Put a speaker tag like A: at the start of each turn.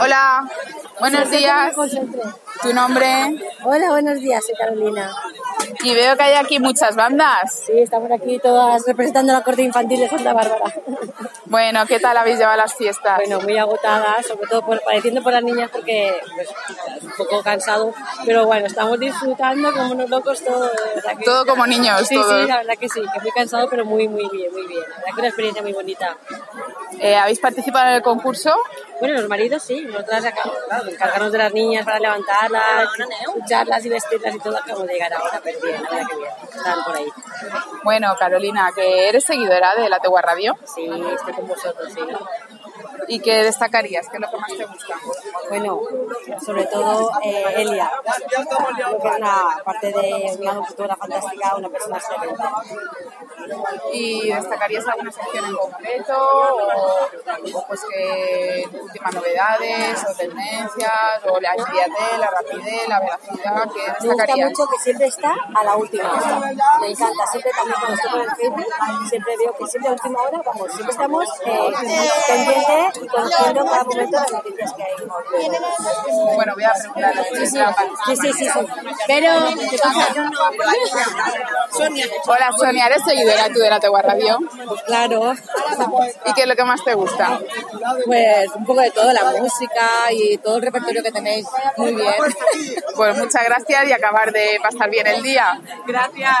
A: Hola, buenos días. ¿Tu nombre?
B: Hola, buenos días, soy Carolina.
A: Y veo que hay aquí muchas bandas.
B: Sí, estamos aquí todas representando la corte infantil de Santa Bárbara.
A: Bueno, ¿qué tal habéis llevado las fiestas?
B: Bueno, muy agotadas, sobre todo por, padeciendo por las niñas porque pues, es un poco cansado, pero bueno, estamos disfrutando como unos locos todo. de verdad que-
A: Todo como niños,
B: Sí,
A: todo.
B: sí, la verdad que sí, que muy cansado, pero muy, muy bien, muy bien. La verdad que una experiencia muy bonita.
A: Eh, ¿Habéis participado en el concurso?
B: Bueno, los maridos sí, nosotras acabamos, claro, encargarnos de las niñas para levantarlas, escucharlas y vestirlas y todo, acabamos de llegar ahora, pero bien, la verdad que bien, están por ahí.
A: Bueno, Carolina, que eres seguidora de la Tegua Radio
B: Sí, estoy con vosotros, sí.
A: y que destacarías, que es lo que más te gusta.
B: Bueno, sobre todo eh, Elia, creo que es una parte de una cultura fantástica, una persona excelente.
A: ¿Y destacarías alguna sección en concreto? ¿O, o pues que últimas novedades o tendencias? ¿O la agilidad, la rapidez, la velocidad? ¿Qué
B: Me gusta
A: destacarías?
B: mucho que siempre está a la última hora. Me encanta, siempre también cuando estoy por el Facebook, siempre veo que siempre a última hora, vamos, siempre estamos eh, pendientes y conociendo cada momento las noticias que hay.
A: Bueno, voy a preguntar.
B: Sí, sí, sí, sí. Pero, ¿qué pasa?
A: Hola, Sonia, ¿eres seguidora tú de la Tegua Radio?
B: Pues claro,
A: ¿Y qué es lo que más te gusta?
B: pues un poco de todo, la música y todo el repertorio que tenéis, muy bien.
A: Pues muchas gracias y acabar de pasar bien el día. Gracias.